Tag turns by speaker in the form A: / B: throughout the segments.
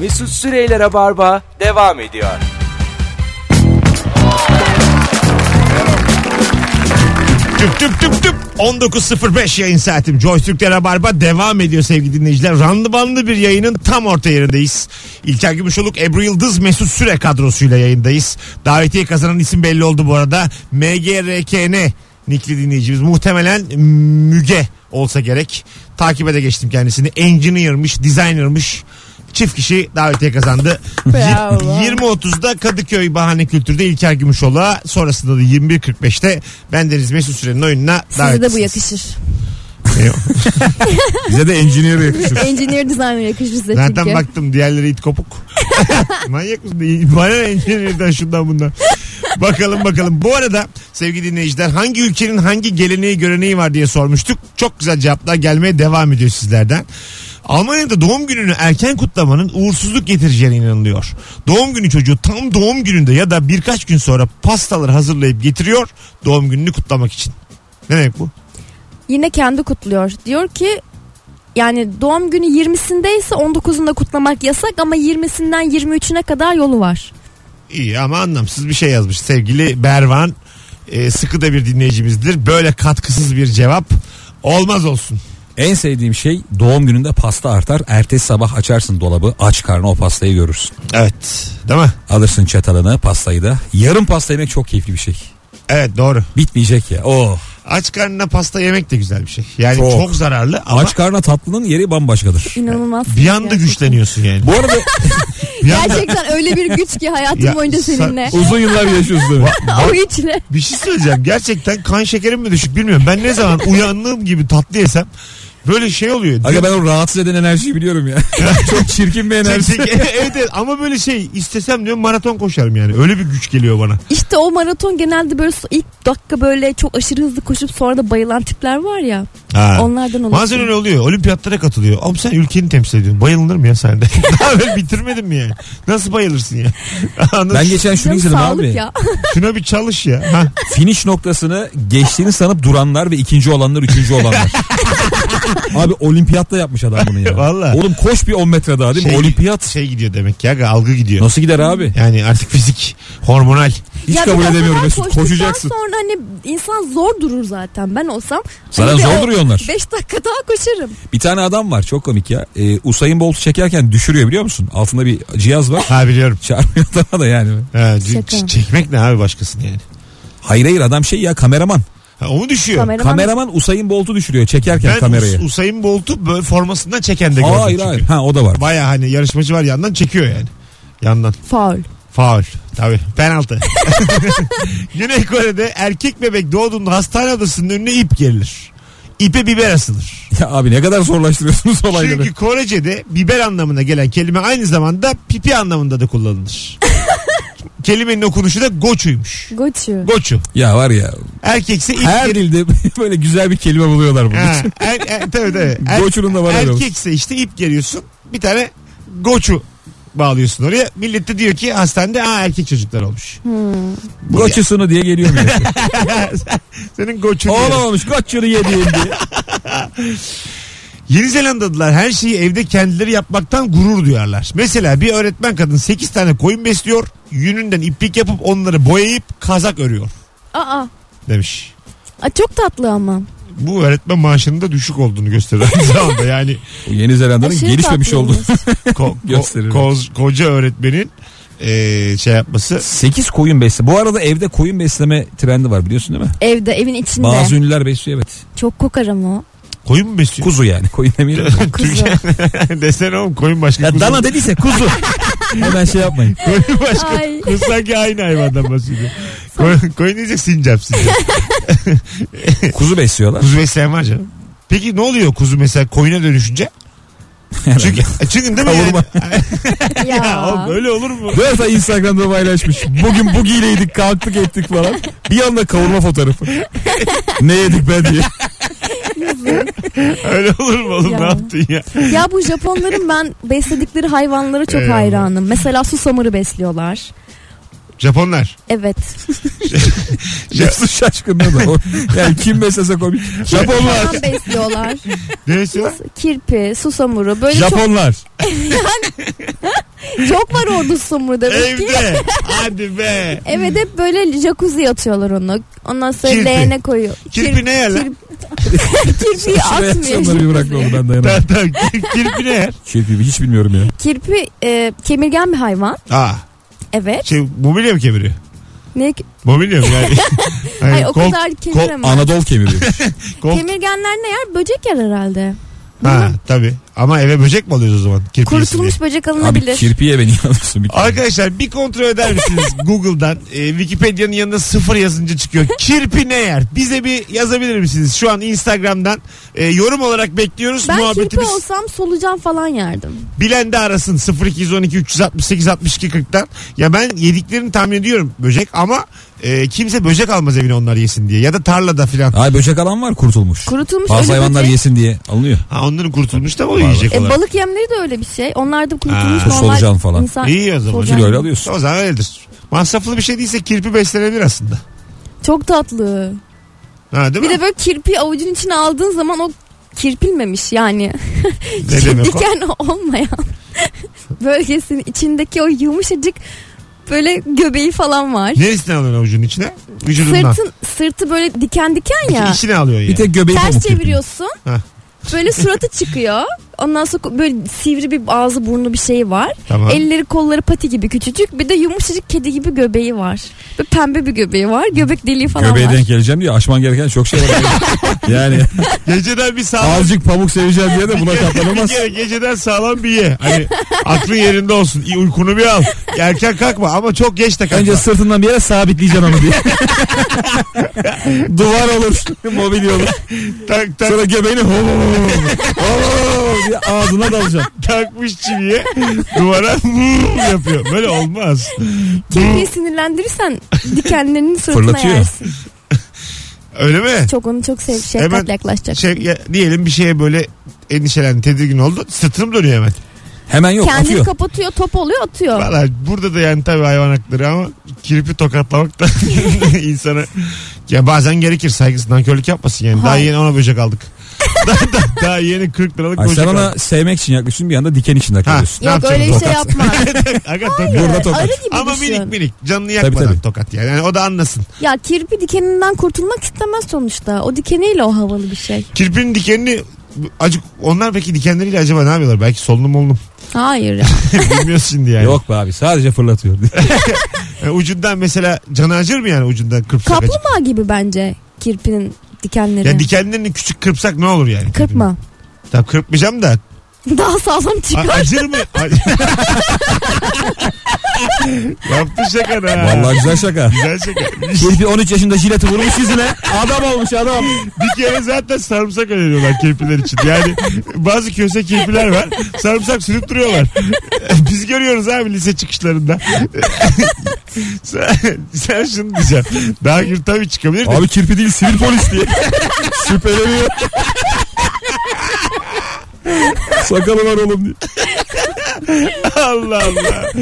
A: Mesut Süreyler'e barba devam ediyor.
B: Tüp tüp tüp tüp. 19.05 yayın saatim. Joystick'te Rabarba devam ediyor sevgili dinleyiciler. Randımanlı bir yayının tam orta yerindeyiz. İlker Gümüşoluk, Ebru Yıldız, Mesut Süre kadrosuyla yayındayız. Davetiye kazanan isim belli oldu bu arada. MGRKN nikli dinleyicimiz. Muhtemelen Müge olsa gerek. Takibe de geçtim kendisini. Engineer'mış, designer'mış. Çift kişi davetiye kazandı.
C: Bravo.
B: 20.30'da Kadıköy Bahane Kültür'de İlker Gümüşoluk'a sonrasında da 21.45'te bendeniz Mesut Süren'in oyununa
C: Size de bu
B: davetlisiniz.
C: yakışır.
D: Bize de engineer yakışır.
C: Engineer designer yakışır size
B: Zaten
C: çünkü.
B: baktım diğerleri it kopuk. Manyak mısın? Bana ne engineer'den şundan bundan. Bakalım bakalım. Bu arada sevgili dinleyiciler hangi ülkenin hangi geleneği göreneği var diye sormuştuk. Çok güzel cevaplar gelmeye devam ediyor sizlerden. Almanya'da doğum gününü erken kutlamanın uğursuzluk getireceğine inanılıyor. Doğum günü çocuğu tam doğum gününde ya da birkaç gün sonra pastaları hazırlayıp getiriyor doğum gününü kutlamak için. Ne demek bu?
C: Yine kendi kutluyor. Diyor ki yani doğum günü 20'sindeyse 19'unda kutlamak yasak ama 20'sinden 23'üne kadar yolu var.
B: İyi ama anlamsız bir şey yazmış. Sevgili Bervan e, sıkı da bir dinleyicimizdir. Böyle katkısız bir cevap olmaz olsun.
D: En sevdiğim şey doğum gününde pasta artar. Ertesi sabah açarsın dolabı aç karnına o pastayı görürsün.
B: Evet. Değil mi?
D: Alırsın çatalını pastayı da. Yarım pasta yemek çok keyifli bir şey.
B: Evet doğru.
D: Bitmeyecek ya. Oh.
B: Aç karnına pasta yemek de güzel bir şey. Yani çok,
D: Çok.
B: zararlı ama
D: Aç karnına tatlının yeri bambaşkadır.
C: İnanılmaz.
B: bir anda
C: Gerçekten.
B: güçleniyorsun yani.
D: Bu arada
B: Bir anda
C: Gerçekten öyle bir güç ki hayatım
B: Ya,
C: boyunca
B: sen-
C: seninle.
D: uzun yıllar yaşıyorsun.
C: o güçle.
B: bir şey söyleyeceğim. Gerçekten kan şekerim mi düşük bilmiyorum. Ben ne zaman uyandığım gibi tatlı yesem böyle şey oluyor.
D: Aga ben o rahatsız eden enerjiyi biliyorum ya. çok çirkin bir enerji.
B: Gerçek- evet, evet ama böyle şey istesem diyorum maraton koşarım yani. Öyle bir güç geliyor bana.
C: İşte o maraton genelde böyle so- ilk dakika böyle çok aşırı hızlı koşup sonra da bayılan tipler var ya.
B: Ha.
C: Onlardan oluşuyor.
B: Bazen öyle oluyor. Olimpiyatlara katılıyor. Abi sen ülkeni temsil ediyorsun. Bayılınır mı ya sen de? Daha ben bitirmedim mi yani? Nasıl bayılırsın ya? Anladın?
D: Ben geçen şunu
C: Canım
D: izledim
C: sağlık
D: abi.
C: ya.
B: Şuna bir çalış ya. Ha.
D: Finish noktasını geçtiğini sanıp duranlar ve ikinci olanlar üçüncü olanlar. abi olimpiyatta yapmış adam bunu ya.
B: Vallahi.
D: Oğlum koş bir 10 metre daha değil mi?
B: Şey-
D: Olimpiyat.
B: Şey gidiyor demek ya. Algı gidiyor.
D: Nasıl gider abi?
B: Yani artık fizik, hormonal.
D: Hiç
C: Ya
D: kabul
C: biraz
D: edemiyorum
C: daha
D: Mesut.
C: koştuktan
D: Koşacaksın.
C: Sonra hani insan zor durur zaten. Ben olsam.
D: Zaten
C: hani bir
D: zor
C: o
D: duruyor onlar.
C: Beş dakika daha koşarım.
D: Bir tane adam var çok komik ya. Ee, Usain Bolt çekerken düşürüyor biliyor musun? Altında bir cihaz var.
B: Ha biliyorum.
D: Çarpıyor adama da yani.
B: Ha, c-
C: Şaka.
B: ç- çekmek ne abi başkasını yani?
D: Hayır hayır adam şey ya kameraman.
B: Ha, o mu düşüyor?
C: Kameraman-
D: Kameraman Usain Bolt'u düşürüyor çekerken
B: ben
D: kamerayı.
B: Us- Usain Bolt'u böyle formasından çeken de gördüm.
D: hayır
B: çünkü.
D: hayır. Ha o da var.
B: Baya hani yarışmacı var yandan çekiyor yani. Yandan.
C: Faul.
B: Faul. Tabii. Penaltı. Güney Kore'de erkek bebek doğduğunda hastane odasının önüne ip gerilir. İpe biber asılır.
D: Ya abi ne kadar zorlaştırıyorsunuz olayları.
B: Çünkü Korece'de biber anlamına gelen kelime aynı zamanda pipi anlamında da kullanılır. Kelimenin okunuşu da goçuymuş.
C: Goçu.
B: Goçu.
D: Ya var ya
B: Erkekse ip
D: her
B: geri-
D: dilde böyle güzel bir kelime buluyorlar bunun
B: Ha,
D: için.
B: er, er- tabii tabii. Er-
D: Goçunun da var öyle olsun.
B: erkekse işte ip geriyorsun. Bir tane goçu bağlıyorsun oraya. Millet de diyor ki hastanede aa erkek çocuklar olmuş.
D: Goçusunu diye geliyor mu?
B: Senin goçun. diyor.
D: Olamamış goçunu yediğim diye.
B: Yeni Zelandalılar her şeyi evde kendileri yapmaktan gurur duyarlar. Mesela bir öğretmen kadın 8 tane koyun besliyor. Yününden iplik yapıp onları boyayıp kazak örüyor
C: Aa.
B: demiş.
C: Aa, çok tatlı ama.
B: Bu öğretmen maaşının da düşük olduğunu gösterir aynı zamanda. Yani
D: Bu Yeni Zelanda'nın
C: Aşırı
D: gelişmemiş olduğu.
C: tatlıymış.
B: ko-
D: Gösterir.
B: ko- koz- koca öğretmenin eee, şey yapması
D: 8 koyun besle. Bu arada evde koyun besleme trendi var biliyorsun değil mi?
C: Evde evin içinde.
D: Bazı ünlüler besliyor evet.
C: Çok kokar ama o.
B: koyun mu besliyor?
D: Kuzu yani. Koyun demeyelim. de.
C: Kuzu.
B: Desene oğlum koyun başka
D: ya
B: kuzu.
D: dana dediyse kuzu. Hemen şey yapmayın.
B: Koyun başka.
C: Ay.
B: Kuzu sanki aynı hayvandan bahsediyor. Koyun, koyun diyecek sincap sincap.
D: Kuzu besliyorlar.
B: Kuzu besleyen var canım. Peki ne oluyor kuzu mesela koyuna dönüşünce? Çünkü, e, çünkü değil mi
D: Kavurma.
B: yani?
C: Ya.
B: ya oğlum öyle olur mu?
D: Dört ay Instagram'da paylaşmış. Bugün bugiyleydik kalktık ettik falan. Bir anda kavurma fotoğrafı. ne yedik be diye.
B: Öyle olur mu oğlum
C: Ya.
B: ne yaptın ya?
C: ya bu Japonların ben besledikleri hayvanlara çok
B: Eyvallah.
C: hayranım. Mesela susamırı besliyorlar.
B: Japonlar.
C: Evet.
D: Mesut şaşkınlığı da. o. Yani kim beslese komik. Japonlar.
C: Hayvan besliyorlar.
B: Neresi var?
C: Kirpi, susamuru. Böyle çok
D: Japonlar.
C: Çok var orada sumru demek ki.
B: Evde. Hadi be.
C: Evet hep böyle jacuzzi atıyorlar onu. Ondan sonra
B: Kirpi.
C: leğene koyuyor.
B: Kirpi ne yer lan?
C: Kirp- Kirpiyi
D: Şuraya
C: atmıyor.
D: Onları bir bırakma onu ben dayanamam.
B: Tamam, tamam. Kirpi ne yer?
D: Kirpi hiç bilmiyorum ya.
C: Kirpi e, kemirgen bir hayvan.
B: Aa,
C: Evet.
B: şey, mobilya mı kemiriyor?
C: Ne?
B: Mobilya mı yani? Hani
C: Ay, o
B: kol-
C: kadar
D: Ko-
C: kemiremez.
D: Anadolu kemiriyor.
B: kol-
C: Kemirgenler ne yer? Böcek yer herhalde.
B: Ha tabii. Ama eve böcek mi alıyoruz o zaman? Kirpi yesin diye.
C: Kurutulmuş böcek
D: Abi
C: alınabilir.
D: kirpiye beni yanılıyorsun bir kere.
B: Arkadaşlar bir kontrol eder misiniz Google'dan? E, Wikipedia'nın yanında sıfır yazınca çıkıyor. Kirpi ne yer? Bize bir yazabilir misiniz? Şu an Instagram'dan e, yorum olarak bekliyoruz.
C: ben kirpi
B: Muhabbetimiz
C: olsam solucan falan yerdim.
B: bilen de arasın 0212 368 62 40'tan. Ya ben yediklerini tahmin ediyorum böcek ama e, kimse böcek almaz evine onlar yesin diye. Ya da tarlada filan.
D: Ay böcek alan var kurtulmuş.
C: Kurutulmuş
D: Bazı
C: ölü
D: hayvanlar
C: böcek.
D: yesin diye alınıyor.
B: Ha, onların kurtulmuş da o
D: var.
B: yiyecek
C: E,
B: olarak.
C: balık yemleri de öyle bir şey. Onlar da kurutulmuş
B: Ha.
C: normal
D: Solucan falan.
C: insan.
B: İyi o zaman.
C: Solucan.
D: Kilo öyle alıyorsun.
B: O zaman öyledir. Masraflı bir şey değilse kirpi beslenebilir aslında.
C: Çok tatlı.
B: Ha değil
C: Bir
B: mi?
C: de böyle kirpi avucun içine aldığın zaman o kirpilmemiş yani.
B: ne demek o?
C: Diken olmayan bölgesinin içindeki o yumuşacık böyle göbeği falan var.
B: Neresinden alıyorsun avucunun içine? Vücudundan.
C: Sırtın, sırtı böyle diken diken ya.
B: İçine alıyorsun yani.
D: Bir tek göbeği pamuk
C: Ters
D: kirpi.
C: çeviriyorsun.
B: Hah.
C: Böyle suratı çıkıyor. Ondan sonra böyle sivri bir ağzı burnu bir şeyi var.
B: Tamam.
C: Elleri kolları pati gibi küçücük. Bir de yumuşacık kedi gibi göbeği var. Ve pembe bir göbeği var. Göbek deliği falan
D: Göbeğe
C: var.
D: denk geleceğim diye aşman gereken çok şey var. yani
B: Geceden bir sağlam
D: azıcık pamuk seveceğim diye de buna
B: bir
D: katlanamaz.
B: kere geceden sağlam bir ye. Hani aklın yerinde olsun. İyi, Uykunu bir al. Erken kalkma ama çok geç de kalkma.
D: Önce sırtından bir yere sabitleyeceğim onu diye. Duvar olur, mobilya olur.
B: tak, tak,
D: Sonra göbeğini ho ho ho ho diye ağzına dalacaksın.
B: takmış çiviye duvara vur yapıyor. Böyle olmaz.
C: Kirpiyi sinirlendirirsen dikenlerinin sırtına
D: Fırlatıyor.
C: yersin.
B: Öyle mi?
C: Çok onu çok sev
B: Hemen
C: şefkatle yaklaşacak.
B: Şey, ya, diyelim bir şeye böyle endişelendi, tedirgin oldu. Sırtım dönüyor hemen.
D: Hemen yok
C: Kendini
D: atıyor.
C: kapatıyor top oluyor atıyor.
B: Valla burada da yani tabii hayvan hakları ama kirpi tokatlamak da insana ya bazen gerekir saygısız nankörlük yapmasın yani. Daha
C: Hayır.
B: yeni ona böcek aldık. daha, daha, daha yeni 40 liralık
D: Ay
B: böcek
D: sen
B: aldık.
D: ona sevmek için yaklaşıyorsun bir anda diken için yakalıyorsun.
B: ne
C: Yok
B: yapacağız
C: öyle bir şey
B: tokat?
C: yapma.
B: Aga, tokat.
D: Burada tokat.
C: Arı gibi
B: Ama
C: düşün.
B: minik minik canını yakmadan
D: tabii.
B: tokat yani. yani. O da anlasın.
C: Ya kirpi dikeninden kurtulmak istemez sonuçta. O dikeniyle o havalı bir şey.
B: Kirpinin dikenini acık onlar peki dikenleriyle acaba ne yapıyorlar? Belki solunum olunum.
C: Hayır ya.
B: Bilmiyoruz şimdi yani.
D: Yok be abi sadece fırlatıyor.
B: Yani ucundan mesela canı acır mı yani ucundan kırpsak acı?
C: Kaplumbağa gibi bence kirpinin dikenleri.
B: Ya dikenlerini küçük kırpsak ne olur yani?
C: Kırpma.
B: Tabii kırpmayacağım da
C: Daha sağlam
B: A-
C: çıkar.
B: acır mı? Yaptı şaka da.
D: Vallahi güzel şaka.
B: Güzel şaka.
D: Kirpi 13 yaşında jileti vurmuş yüzüne. Adam olmuş adam.
B: Bir kere zaten sarımsak öneriyorlar kirpiler için. Yani bazı köse kirpiler var. Sarımsak sürüp duruyorlar. Biz görüyoruz abi lise çıkışlarında. sen, sen şunu diyeceğim. Daha gür tabii çıkabilir de.
D: Abi kirpi değil sivil polis diye. Şüpheleniyor. Sakalı var oğlum diye.
B: Allah Allah.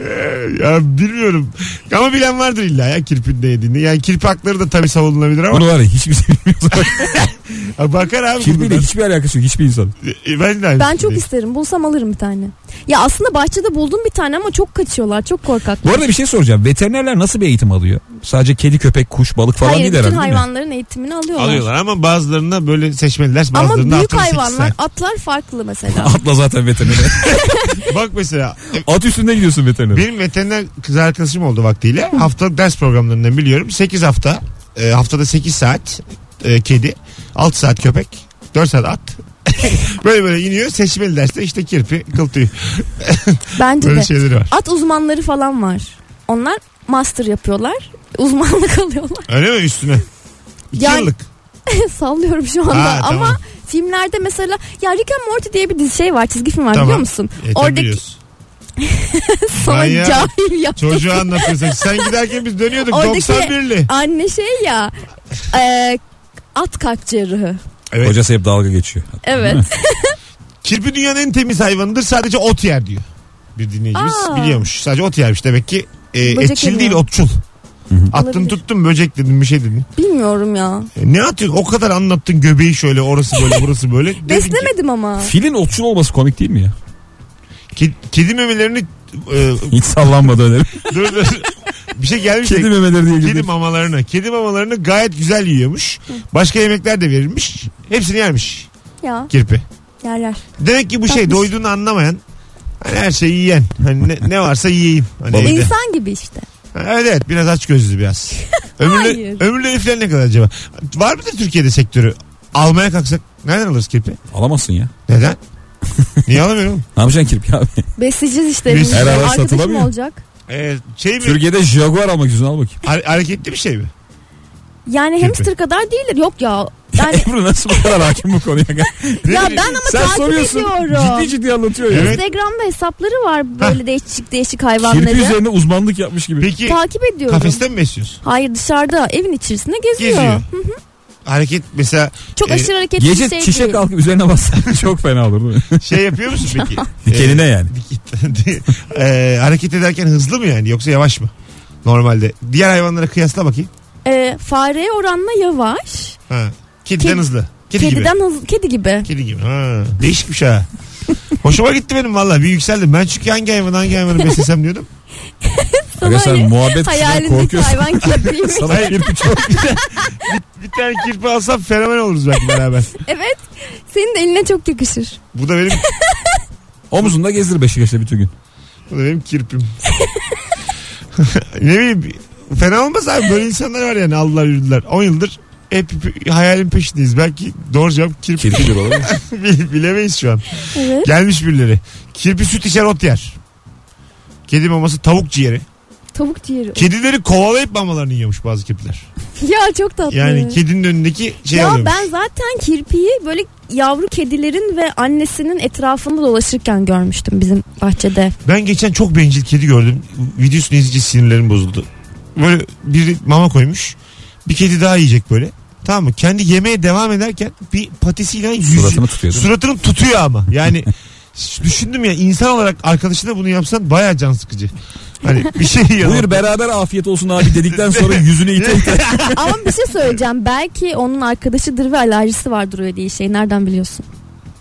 B: Ee, ya bilmiyorum. Ama bilen vardır illa ya kirpin ne yediğini. Yani kirpi hakları da tabii savunulabilir ama.
D: Bunu var ya hiçbir şey bilmiyor.
B: Bakar abi.
D: Kirpiyle
B: bunlar.
D: hiçbir alakası yok hiçbir insan.
B: E, Ben, de aynı
C: Ben çok
B: fikirdeyim.
C: isterim. Bulsam alırım bir tane. Ya aslında bahçede buldum bir tane ama çok kaçıyorlar. Çok korkak.
D: Bu arada bir şey soracağım. Veterinerler nasıl bir eğitim alıyor? Sadece kedi, köpek, kuş, balık falan
C: Hayır
D: değil
C: bütün
D: herhalde değil mi?
C: hayvanların eğitimini alıyorlar.
B: Alıyorlar ama bazılarına böyle seçmeli ders
C: Ama
B: bazılarına
C: büyük
B: haftada sekiz
C: hayvanlar atlar farklı mesela.
D: Atla zaten veterinere.
B: saat. Bak mesela
D: At üstünde gidiyorsun veterinere.
B: benim veteriner kız arkadaşım oldu vaktiyle. Haftalık ders programlarından biliyorum. 8 hafta e, haftada 8 saat e, kedi 6 saat köpek 4 saat at. böyle böyle iniyor seçmeli derste işte kirpi kıl tüyü
C: Bence
B: böyle şey-
C: de.
B: şeyleri var.
C: At uzmanları falan var. Onlar master yapıyorlar. Uzmanlık alıyorlar.
B: Öyle mi üstüne? 2
C: Yani-
B: yıllık.
C: Sallıyorum şu anda
B: Ha,
C: ama
B: tamam.
C: filmlerde mesela ya Rick and Morty diye bir dizi şey var çizgi film var
B: Tamam.
C: biliyor musun?
B: E, tabii
C: Oradaki
B: biliyorsun.
C: sana
B: Manyak.
C: cahil yaptım.
B: Çocuğa anlatıyorsun. Sen giderken biz dönüyorduk
C: Oradaki-
B: 91'li.
C: Anne şey ya e, at kalp cerrahı.
B: Evet.
D: Hocası hep dalga geçiyor.
C: Evet.
B: Kirpi dünyanın en temiz hayvanıdır. Sadece ot yer diyor. Bir dinleyicimiz
C: Aa.
B: biliyormuş. Sadece ot yermiş. Demek ki e,
C: Böcek
B: etçil
C: yemiyor.
B: değil otçul. Attın
C: Olabilir.
B: tuttun böcek dedin bir şey dedin.
C: Bilmiyorum ya.
B: E, ne atıyorsun? O kadar anlattın göbeği şöyle orası böyle burası böyle. Dedin ki,
C: Beslemedim ama.
D: Filin otçul olması komik değil mi ya?
B: "Ke- kedi memelerini e,
D: Hiç sallanmadı önerim.
B: dur dur. Bir şey gelmiş. de-
D: Kedi memeleri diye
B: Kedi
D: gidiyor.
B: mamalarını. Kedi mamalarını gayet güzel yiyormuş. Başka yemekler de verilmiş. Hepsini yermiş
C: Ya
B: kirpi.
C: yerler.
B: Demek ki bu şey
C: Tatmış.
B: doyduğunu anlamayan. Hani her şeyi yiyen. Hani ne, ne varsa yiyeyim. Hani evde.
C: İnsan gibi işte.
B: Ha, Evet evet biraz aç gözlü biraz. Ömürlü,
C: Hayır.
B: ömürlü herifler ne kadar acaba? Var mıdır Türkiye'de sektörü? Almaya kalksak nereden alırız kirpi?
D: Alamazsın ya.
B: Neden? Niye alamıyorum?
D: Ne yapacaksın kirpi abi?
C: Besleyeceğiz işte.
B: Biz-
C: evimizde.
D: Her ara
C: Arkadaşım
D: satılamıyor.
C: olacak.
B: Ee, şey mi?
D: Türkiye'de Jaguar almak istiyorsun al bakayım.
B: Ha- hareketli bir şey mi?
C: Yani
B: Kirpi.
C: hamster kadar değildir. Yok ya. Yani
D: Ebru nasıl bu kadar hakim bu konuya?
B: Ne
C: ya
B: bileyim.
C: ben ama
D: Sen
C: takip
D: soruyorsun
C: ediyorum.
D: ciddi ciddi anlatıyor ya.
B: Evet.
C: Instagram'da hesapları var böyle değişik değişik hayvanları.
D: Kirpi üzerine uzmanlık yapmış gibi.
B: Peki
C: Takip ediyorum.
B: kafeste mi besliyorsun?
C: Hayır dışarıda evin içerisinde geziyor.
B: Geziyor.
C: Hı hı.
B: Hareket mesela
C: Çok
B: Ee,
C: aşırı hareketli bir
D: Gece
C: şey
D: çişe
C: değil.
D: kalkıp üzerine bassan çok fena olur değil mi?
B: şey yapıyor musun peki?
D: Dikenine yani.
B: Ee, Ee, hareket ederken hızlı mı yani yoksa yavaş mı? Normalde. Diğer hayvanlara kıyasla bakayım.
C: Ee, fareye oranla yavaş.
B: Ha. Kediden
C: Kedi-
B: hızlı. Kedi gibi.
C: Kediden hızlı. Kedi gibi.
B: Kedi gibi. Ha. Değişikmiş ha. Hoşuma gitti benim valla. Bir yükseldim. Ben çünkü hangi hayvanı hangi hayvanı beslesem diyordum.
D: Arkadaşlar
C: öyle
D: muhabbet kuşundan
C: Hayalindeki
D: korkuyorsun.
C: hayvan kirpiymiş.
D: Sana kirpi çok.
B: Bir tane kirpi alsam fenomen oluruz belki beraber.
C: evet. Senin de eline çok yakışır.
B: Bu da benim,
D: Omuzunda gezdir Beşiktaş'ta bütün gün.
B: bu da benim kirpim. ne bileyim fena olmaz abi. Böyle insanlar var yani aldılar yürüdüler. 10 yıldır hep hayalin peşindeyiz. Belki doğru cevap kirpi.
D: Kirpidir olur mu?
B: Bile- Bilemeyiz şu an.
C: Evet.
B: Gelmiş birileri. Kirpi süt içer ot yer. Kedi maması tavuk ciğeri.
C: Tavuk ciğeri.
B: Kedileri kovalayıp mamalarını yiyormuş bazı kirpiler.
C: ya çok tatlı.
B: Yani kedinin önündeki şey
C: ya
B: alıyormuş.
C: ben zaten kirpiyi böyle yavru kedilerin ve annesinin etrafında dolaşırken görmüştüm bizim bahçede.
B: Ben geçen çok bencil kedi gördüm. Videosunu izleyince sinirlerim bozuldu. Böyle biri mama koymuş. Bir kedi daha yiyecek böyle. Tamam mı? Kendi yemeye devam ederken bir patisiyle yüzü,
D: Suratını tutuyor değil mi?
B: suratını tutuyor ama. Yani ş- düşündüm ya insan olarak arkadaşına bunu yapsan baya can sıkıcı. Hani bir şey yiyor.
D: Buyur beraber afiyet olsun abi dedikten sonra yüzünü ite ite.
C: Ama bir şey söyleyeceğim. Belki onun arkadaşıdır ve alerjisi vardır öyle diye şey. Nereden biliyorsun?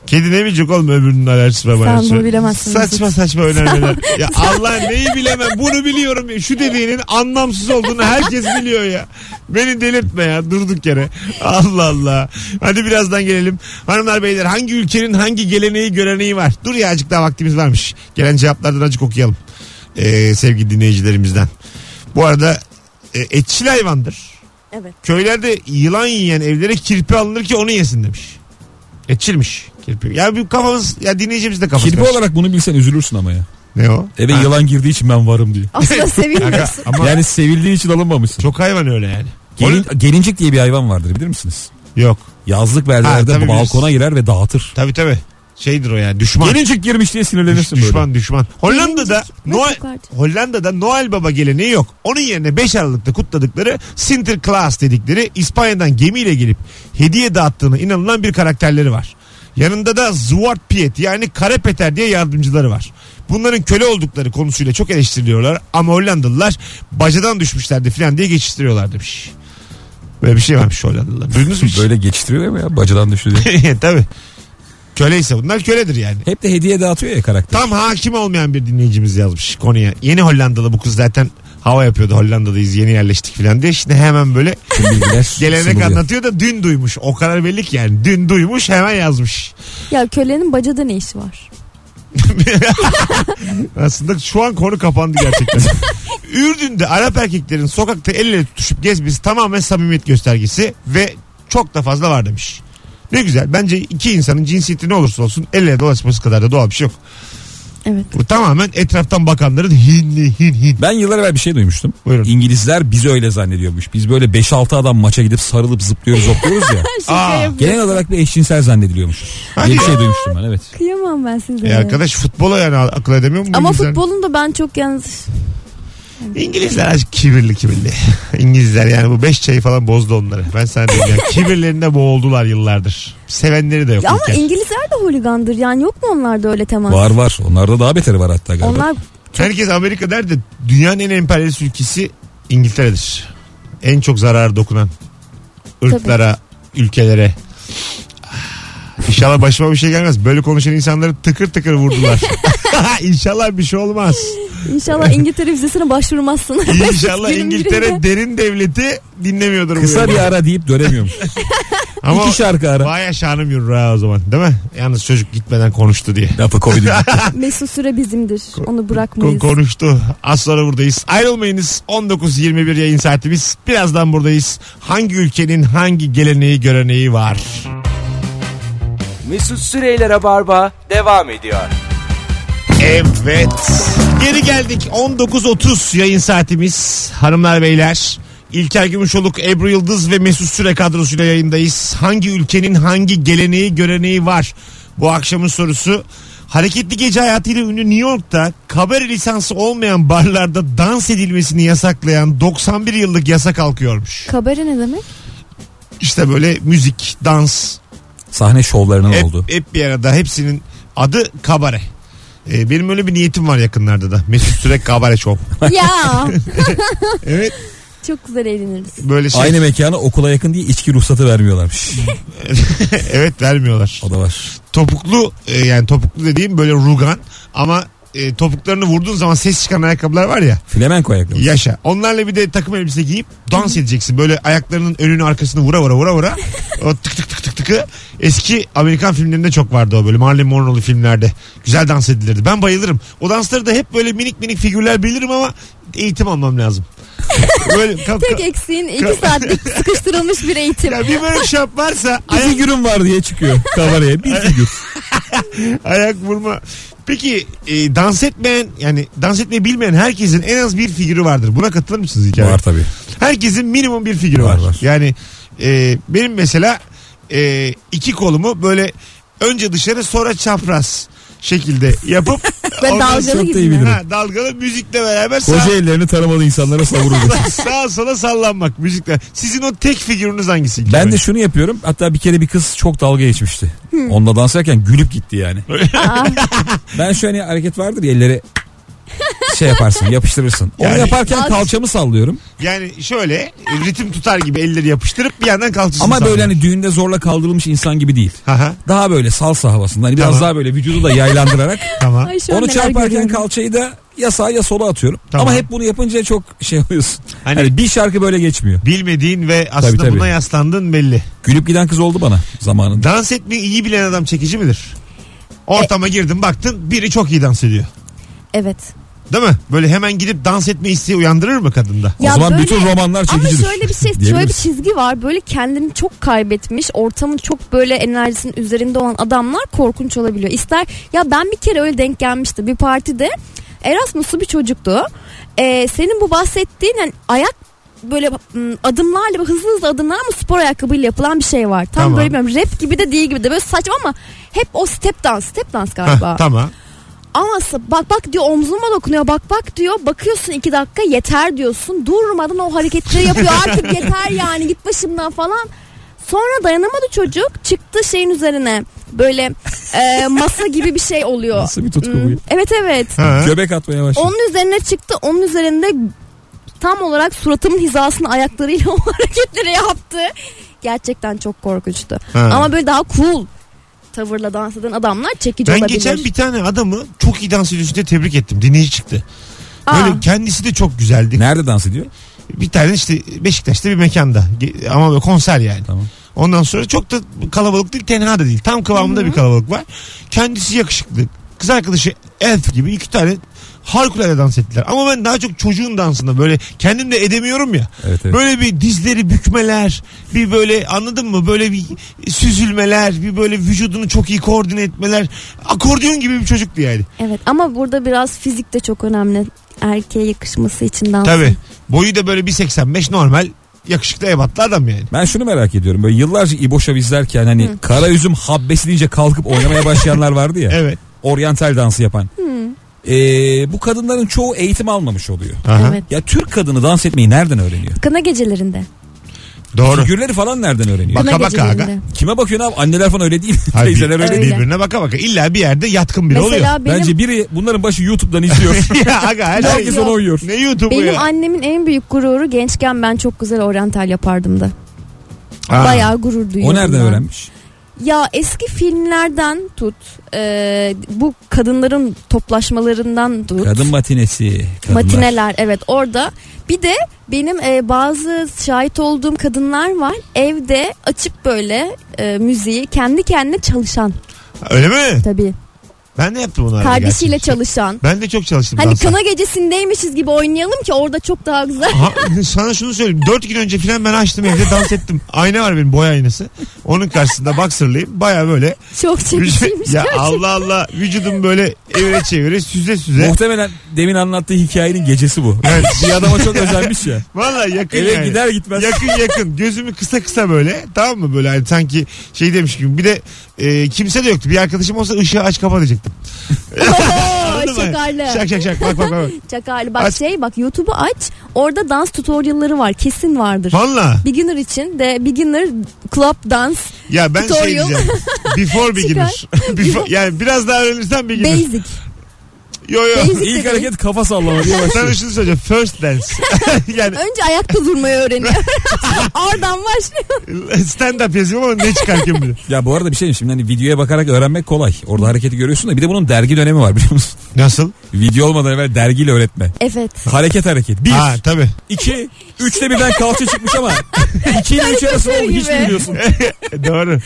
B: Kedi ne bilecek oğlum öbürünün alerjisi var. bana
C: bunu
B: söyle.
C: bilemezsin
B: Saçma
C: Mesut.
B: saçma önermeler. ya Allah neyi bilemem bunu biliyorum. ya. Şu dediğinin anlamsız olduğunu herkes biliyor ya. Beni delirtme ya durduk yere. Allah Allah. Hadi birazdan gelelim. Hanımlar beyler hangi ülkenin hangi geleneği göreneği var? Dur ya azıcık daha vaktimiz varmış. Gelen cevaplardan azıcık okuyalım. Ee, sevgili dinleyicilerimizden. Bu arada e, etçil hayvandır.
C: Evet.
B: Köylerde yılan yiyen evlere kirpi alınır ki onu yesin demiş. Etçilmiş kirpi. Ya bir kafamız ya dinleyicimiz de kafası.
D: Kirpi
B: karışık.
D: olarak bunu bilsen üzülürsün ama ya.
B: Ne o?
D: Eve
B: Ha.
D: yılan girdiği için ben varım diyor.
C: Aslında sevinmiyorsun.
B: Ama
D: Yani sevildiği için alınmamışsın.
B: çok hayvan öyle yani.
D: Gelin, gelincik diye bir hayvan vardır bilir misiniz?
B: Yok.
D: Yazlık
B: Ha, tabii
D: beldelerde balkona
B: biliriz.
D: girer ve dağıtır.
B: Tabii tabii. Şeydir o yani düşman.
D: Gelincik girmiş diye
B: Düş-
D: sinirlenirsin
B: düşman
D: böyle.
B: düşman. Hollanda'da
C: Gelincik ne
B: Noel
C: kokardı?
B: Hollanda'da Noel Baba geleneği yok. Onun yerine 5 Aralık'ta kutladıkları Sinterklaas dedikleri İspanya'dan gemiyle gelip hediye dağıttığına inanılan bir karakterleri var. Yanında da Zwart Piet yani Kara Peter diye yardımcıları var. Bunların köle oldukları konusuyla çok eleştiriliyorlar ama Hollandalılar bacadan düşmüşlerdi falan diye geçiştiriyorlar demiş. Böyle bir şey varmış Hollandalılar. Duydunuz mu hiç?
D: Böyle geçiştiriyor mu ya bacadan düştü diye.
B: Tabii. Köleyse bunlar köledir yani.
D: Hep de hediye dağıtıyor ya karakter.
B: Tam hakim olmayan bir dinleyicimiz yazmış konuya. Yeni Hollandalı bu kız zaten hava yapıyordu Hollanda'dayız yeni yerleştik falan diye. Şimdi hemen böyle
D: Tüm bilgiler
B: gelenek
D: sunuluyor.
B: anlatıyor da dün duymuş. O kadar belli ki yani dün duymuş hemen yazmış.
C: Ya kölenin bacada ne işi var?
B: Aslında şu an konu kapandı gerçekten. Ürdün'de Arap erkeklerin sokakta el ele tutuşup gezmesi tamamen samimiyet göstergesi ve çok da fazla var demiş. Ne güzel. Bence iki insanın cinsiyeti ne olursa olsun el ele dolaşması kadar da doğal bir şey yok.
C: Evet.
B: Bu tamamen etraftan bakanların hinli hin hin.
D: Ben yıllar evvel bir şey duymuştum.
B: Buyurun.
D: İngilizler bizi öyle zannediyormuş. Biz böyle 5-6 adam maça gidip sarılıp zıplıyoruz hopluyoruz ya.
B: Aa.
C: Şaka yapıyorum.
D: Genel olarak bir eşcinsel zannediliyormuş.
B: Hadi
D: Diye bir
B: ya.
D: şey duymuştum ben evet.
C: Kıyamam ben sizlere.
B: E arkadaş futbola yani akıl edemiyor mu? bu
C: Ama
B: İngilizler?
C: futbolun da ben çok yalnız
B: İngilizler azıcık kibirli kibirli. İngilizler yani bu beş çayı falan bozdu onları. Ben sana diyeyim ya. Kibirlerinde boğuldular yıllardır. Sevenleri de yok.
C: Ya ama
B: ülke.
C: İngilizler de holigandır. Yani yok mu onlarda öyle temas?
D: Var var. Onlarda daha beteri var hatta galiba.
C: Onlar
B: Herkes Amerika der de dünyanın en emperyalist ülkesi İngiltere'dir. En çok zarar dokunan ırklara, ülkelere. İnşallah başıma bir şey gelmez. Böyle konuşan insanları tıkır tıkır vurdular. İnşallah bir şey olmaz.
C: İnşallah İngiltere vizesine başvurmazsın.
B: İnşallah
C: Günün birinde.
B: İngiltere derin devleti dinlemiyordur bu
D: Kısa
B: yayını.
D: bir ara deyip dönemiyorum.
B: Ama
D: İki şarkı ara.
B: Vay şanım yürür ha o zaman değil mi? Yalnız çocuk gitmeden konuştu diye.
D: Lafı Covid'e gitti.
C: Mesut Süre bizimdir. Onu
B: Ko-
C: bırakmayız.
B: konuştu. Az sonra buradayız. Ayrılmayınız. 19.21 yayın saatimiz. Birazdan buradayız. Hangi ülkenin hangi geleneği göreneği var?
A: Mesut Süreyler'e barba devam ediyor.
B: Evet. Geri geldik. 19.30 yayın saatimiz. Hanımlar beyler. İlker Gümüşoluk, Ebru Yıldız ve Mesut Süre kadrosuyla yayındayız. Hangi ülkenin hangi geleneği göreneği var? Bu akşamın sorusu. Hareketli gece hayatıyla ünlü New York'ta kabare lisansı olmayan barlarda dans edilmesini yasaklayan 91 yıllık yasa kalkıyormuş.
C: Kabare ne demek?
B: İşte böyle müzik, dans,
D: Sahne şovlarının
B: hep,
D: oldu.
B: hep bir arada hepsinin adı kabare. Ee, benim öyle bir niyetim var yakınlarda da. Mesut Sürek kabare şov.
C: ya
B: Evet.
C: çok güzel eğleniriz.
B: Böyle şey.
D: Aynı mekana okula yakın diye içki ruhsatı vermiyorlarmış.
B: evet vermiyorlar.
D: O da var.
B: Topuklu e, yani topuklu dediğim böyle rugan ama e, topuklarını vurduğun zaman ses çıkan ayakkabılar var ya.
D: Flamenco ayakkabı.
B: Yaşa. Onlarla bir de takım elbise giyip dans edeceksin. Böyle ayaklarının önünü arkasını vura vura vura vura. O tık tık tık tık tıkı. Eski Amerikan filmlerinde çok vardı o böyle Marilyn Monroe'lu filmlerde. Güzel dans edilirdi. Ben bayılırım. O dansları da hep böyle minik minik figürler bilirim ama eğitim almam lazım. böyle kalk,
C: Tek eksiğin iki saatlik sıkıştırılmış bir eğitim.
B: ya bir workshop varsa
D: Bir figürüm var diye çıkıyor kabareye. Bir figür.
B: Ayak vurma. Peki e, dans etmeyen yani dans etmeyi bilmeyen herkesin en az bir figürü vardır. Buna katılır mısınız hikaye?
D: Var tabii.
B: Herkesin minimum bir figürü var.
D: Var, var.
B: Yani e, benim mesela e, iki kolumu böyle önce dışarı sonra çapraz şekilde yapıp
C: Ve
B: ondan
C: dalgalı
B: sonra-
D: çok da iyi
C: gibi mi?
D: bilirim.
B: Ha, dalgalı müzikle beraber sağa,
D: Koca ellerini tanımadığı insanlara savuruldu.
B: sağa sola sallanmak müzikle. Sizin o tek figürünüz hangisi?
D: Ben de şunu yapıyorum. Hatta bir kere bir kız çok dalga geçmişti. Onunla dans ederken gülüp gitti yani. ben şu hani hareket vardır ya elleri şey yaparsın yapıştırırsın. Onu
B: Yani-
D: yaparken
C: Abi-
D: kalçamı sallıyorum.
B: yani şöyle e, ritim tutar gibi elleri yapıştırıp bir yandan kalçasını
D: Ama böyle
B: sallamak.
D: hani düğünde zorla kaldırılmış insan gibi değil.
B: Aha,
D: Daha böyle salsa havasında. Hani biraz
B: Tamam.
D: daha böyle vücudu da yaylandırarak.
B: tamam.
C: Ay şu an
D: onu
C: neler
D: çarparken
C: görüyorum.
D: kalçayı da ya sağa ya sola atıyorum.
B: Tamam.
D: Ama hep bunu yapınca çok şey oluyorsun.
B: Hani-
D: Hani, bir şarkı böyle geçmiyor.
B: Bilmediğin ve aslında
D: Tabii, tabii.
B: buna yaslandığın belli.
D: Gülüp giden kız oldu bana zamanında.
B: Dans etmeyi iyi bilen adam çekici midir?
C: E-
B: Ortama girdin baktın biri çok iyi dans ediyor.
C: Evet.
B: Değil mi? Böyle hemen gidip dans etme isteği uyandırır mı kadında?
D: o zaman bütün romanlar
C: ama
D: çekicidir.
C: şöyle bir şey, şöyle bir
D: Diyebiliriz.
C: çizgi var. Böyle kendini çok kaybetmiş, ortamın çok böyle enerjisinin üzerinde olan adamlar korkunç olabiliyor. İster ya ben bir kere öyle denk gelmişti bir partide. Erasmus'lu bir çocuktu. Ee, senin bu bahsettiğin yani ayak böyle ım, adımlarla hızlı hızlı adımlar ama spor ayakkabıyla yapılan bir şey var. Tam
B: Tamam.
C: böyle bilmiyorum rap gibi de değil gibi de böyle saçma ama hep o step dans, step dans galiba.
B: Heh, tamam.
C: Ama s- bak bak diyor omzuma dokunuyor bak bak diyor. Bakıyorsun iki dakika yeter diyorsun. Durmadan o hareketleri yapıyor artık yeter yani git başımdan falan. Sonra dayanamadı çocuk çıktı şeyin üzerine böyle e, masa gibi bir şey oluyor.
D: Nasıl bir tutku
C: Hmm,
D: bu?
C: Evet evet.
B: Ha. şey.
D: Göbek atmaya başladı.
C: Onun üzerine çıktı onun üzerinde tam olarak suratımın hizasını ayaklarıyla o hareketleri yaptı. Gerçekten çok korkunçtu.
B: Ha.
C: Ama böyle daha cool tavırla dans eden adamlar çekici
B: Ben
C: olabilir.
B: geçen bir tane adamı çok iyi dans ediyorsun diye tebrik ettim. Dinleyici çıktı.
C: Aa.
B: Böyle kendisi de çok güzeldi.
D: Nerede dans ediyor?
B: Bir tane işte Beşiktaş'ta bir mekanda. Ge- Ama böyle konser yani.
D: Tamam.
B: Ondan sonra çok da kalabalık değil tenha da değil. Tam kıvamında bir kalabalık var. Kendisi yakışıklı. Kız arkadaşı Elf gibi iki tane harikulade dans ettiler. Ama ben daha çok çocuğun dansında böyle kendim de edemiyorum ya.
D: Evet, evet.
B: Böyle bir dizleri bükmeler, bir böyle anladın mı? Böyle bir süzülmeler, bir böyle vücudunu çok iyi koordine etmeler. Akordeon gibi bir çocuktu yani.
C: Evet ama burada biraz fizik de çok önemli. Erkeğe yakışması için dans.
B: Tabii. Boyu da böyle 1.85 normal yakışıklı ebatlı adam yani.
D: Ben şunu merak ediyorum. Böyle yıllarca İboşov izlerken hani kara üzüm habbesi deyince kalkıp oynamaya başlayanlar vardı ya.
B: Evet.
D: Oryantal dansı yapan. Ee, bu kadınların çoğu eğitim almamış oluyor.
B: Aha.
C: Evet.
D: Ya Türk kadını dans etmeyi nereden öğreniyor?
C: Kına gecelerinde.
B: Doğru.
D: Figürleri falan nereden öğreniyor?
B: Bak-
C: Kına
B: Kaka baka
C: gecelerinde.
B: aga.
D: Kime bakıyorsun abi? Anneler falan öyle değil.
B: Hayır,
D: Teyzeler öyle
C: Öyle.
D: değil.
B: Birbirine baka baka. İlla bir yerde yatkın biri oluyor.
C: Mesela benim
D: Bence biri bunların başı YouTube'dan izliyor.
B: ya aga her şey.
D: Herkes ona uyuyor.
B: Ne YouTube'u
C: benim
B: ya?
C: annemin en büyük gururu gençken ben çok güzel oryantal yapardım da.
B: Ha.
C: Bayağı gurur duyuyordum.
D: O nereden
C: ben.
D: öğrenmiş?
C: Ya eski filmlerden tut, e, bu kadınların toplaşmalarından tut.
D: Kadın matinesi. kadınlar.
C: Matineler evet orada. Bir de benim e, bazı şahit olduğum kadınlar var. Evde açıp böyle e, müziği kendi kendine çalışan
B: Öyle mi?
C: tabii.
B: Ben de yaptım onu. arada
C: Kardeşiyle
B: gerçi.
C: çalışan.
B: Ben de çok çalıştım
C: Hani
B: dansa.
C: kına gecesindeymişiz gibi oynayalım ki orada çok daha güzel.
B: Ha, sana şunu söyleyeyim. Dört gün önce falan ben açtım evde dans ettim. Ayna var benim boy aynası. Onun karşısında baksırlayayım. Baya böyle.
C: Çok çekiciymiş.
B: şey- ya
C: gerçekten.
B: Allah Allah. Vücudum böyle evre çevire süze süze.
D: Muhtemelen demin anlattığı hikayenin gecesi bu. Bir adama çok özenmiş ya.
B: Valla yakın
D: Eve
B: yani.
D: gider gitmez.
B: Yakın yakın. Gözümü kısa kısa böyle. Tamam mı? Böyle hani sanki şey demiş gibi. Bir de e, kimse de yoktu. Bir arkadaşım olsa ışığı aç kapa diyecektim. Anladın mı?
C: şakarlı.
B: Şak şak şak. Bak bak bak.
C: Çakarlı bak
B: Aç.
C: şey bak YouTube'u aç. Orada dans tutorial'ları var. Kesin vardır.
B: Valla.
C: Beginner için de beginner club dance
B: Ya ben şey
C: Tutorial.
B: diyeceğim. Before beginner. Before, yani biraz daha öğrenirsen beginner.
C: basic.
B: Yo yo.
C: Basic
D: İlk
C: de değil.
D: hareket kafa sallama diye
B: Sana
D: başlıyor.
B: şunu söyleyeceğim. First dance. yani
C: Önce ayakta durmayı öğreniyor. Oradan başlıyor.
B: stand up yazıyorum ama ne çıkar kim bilir.
D: Ya bu arada bir şey diyeyim şimdi hani videoya bakarak öğrenmek kolay. Orada hareketi görüyorsun da bir de bunun dergi dönemi var biliyor musun?
B: Nasıl?
D: Video olmadan evvel dergiyle öğretme.
C: Evet.
D: Hareket hareket. Bir,
B: Ha tabii.
D: iki, üçte birden kalça çıkmış ama iki ile üç
C: Karikatür
D: arası olduğunu hiç
C: gibi.
D: biliyorsun.
B: E, Doğru.